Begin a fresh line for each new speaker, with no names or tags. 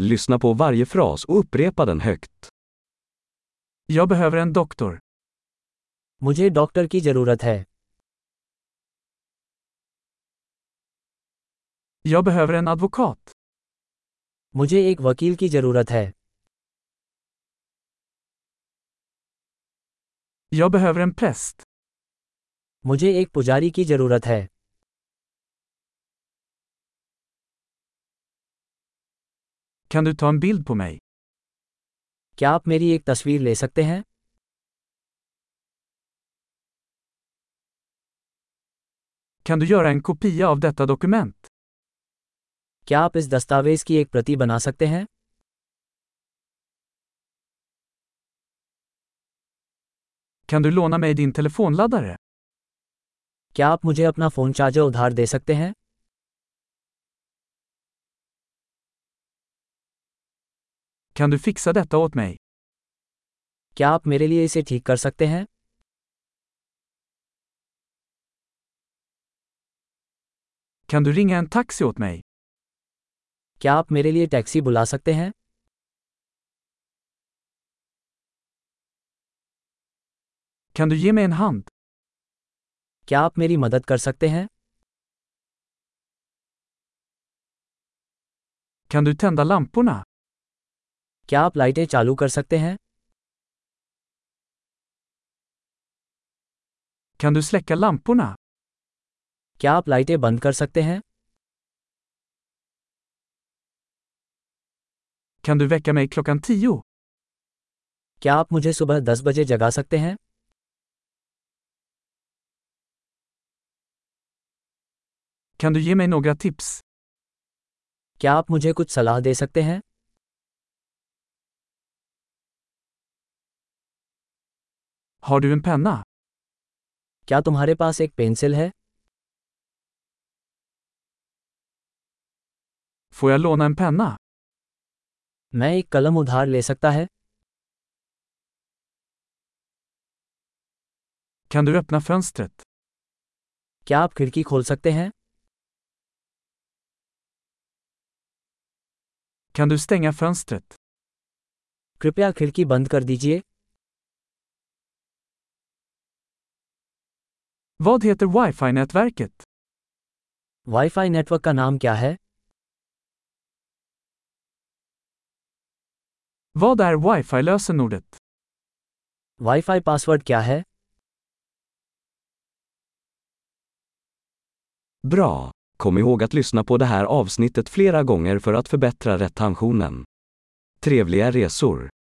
Lyssna på varje fras och upprepa den högt.
Jag behöver en doktor.
मुझे doctor की जरूरत है
Jag behöver en advokat.
मुझे एक वकील की जरूरत है
Jag behöver en präst.
मुझे एक पुजारी की जरूरत है
Kan du ta en bild på mig?
क्या आप मेरी एक तस्वीर ले सकते हैं
Kan du göra en kopia av detta dokument?
क्या आप इस दस्तावेज की एक प्रति बना सकते हैं
Kan du låna mig din telefonladdare?
क्या आप मुझे अपना फोन चार्जर उधार दे सकते हैं
Kan du fixa detta åt mig?
क्या आप मेरे लिए इसे ठीक कर सकते हैं
Kan du ringa en taxi åt mig?
क्या आप मेरे लिए टैक्सी बुला सकते हैं
Kan du ge mig en hand?
क्या आप मेरी मदद कर सकते हैं
Kan du tända lamporna?
क्या आप लाइटें चालू कर सकते हैं
Kan du släcka lamporna?
क्या आप लाइटें बंद कर सकते हैं
Kan du väcka mig klockan tio?
क्या आप मुझे सुबह दस बजे जगा सकते हैं
Kan du ge mig några tips?
क्या आप मुझे कुछ सलाह दे सकते हैं
Har du en penna?
क्या तुम्हारे पास एक पेंसिल है
Får jag låna en penna?
मैं एक कलम उधार ले सकता है
Kan du öppna fönstret?
क्या आप खिड़की खोल सकते हैं
Kan du stänga fönstret?
कृपया खिड़की बंद कर दीजिए
Vad heter wifi-nätverket?
Wifi network का नाम क्या है
Vad är wifi-lösenordet?
Wifi password क्या है
Bra! Kom ihåg att lyssna på det här avsnittet flera gånger för att förbättra retentionen. Trevliga resor!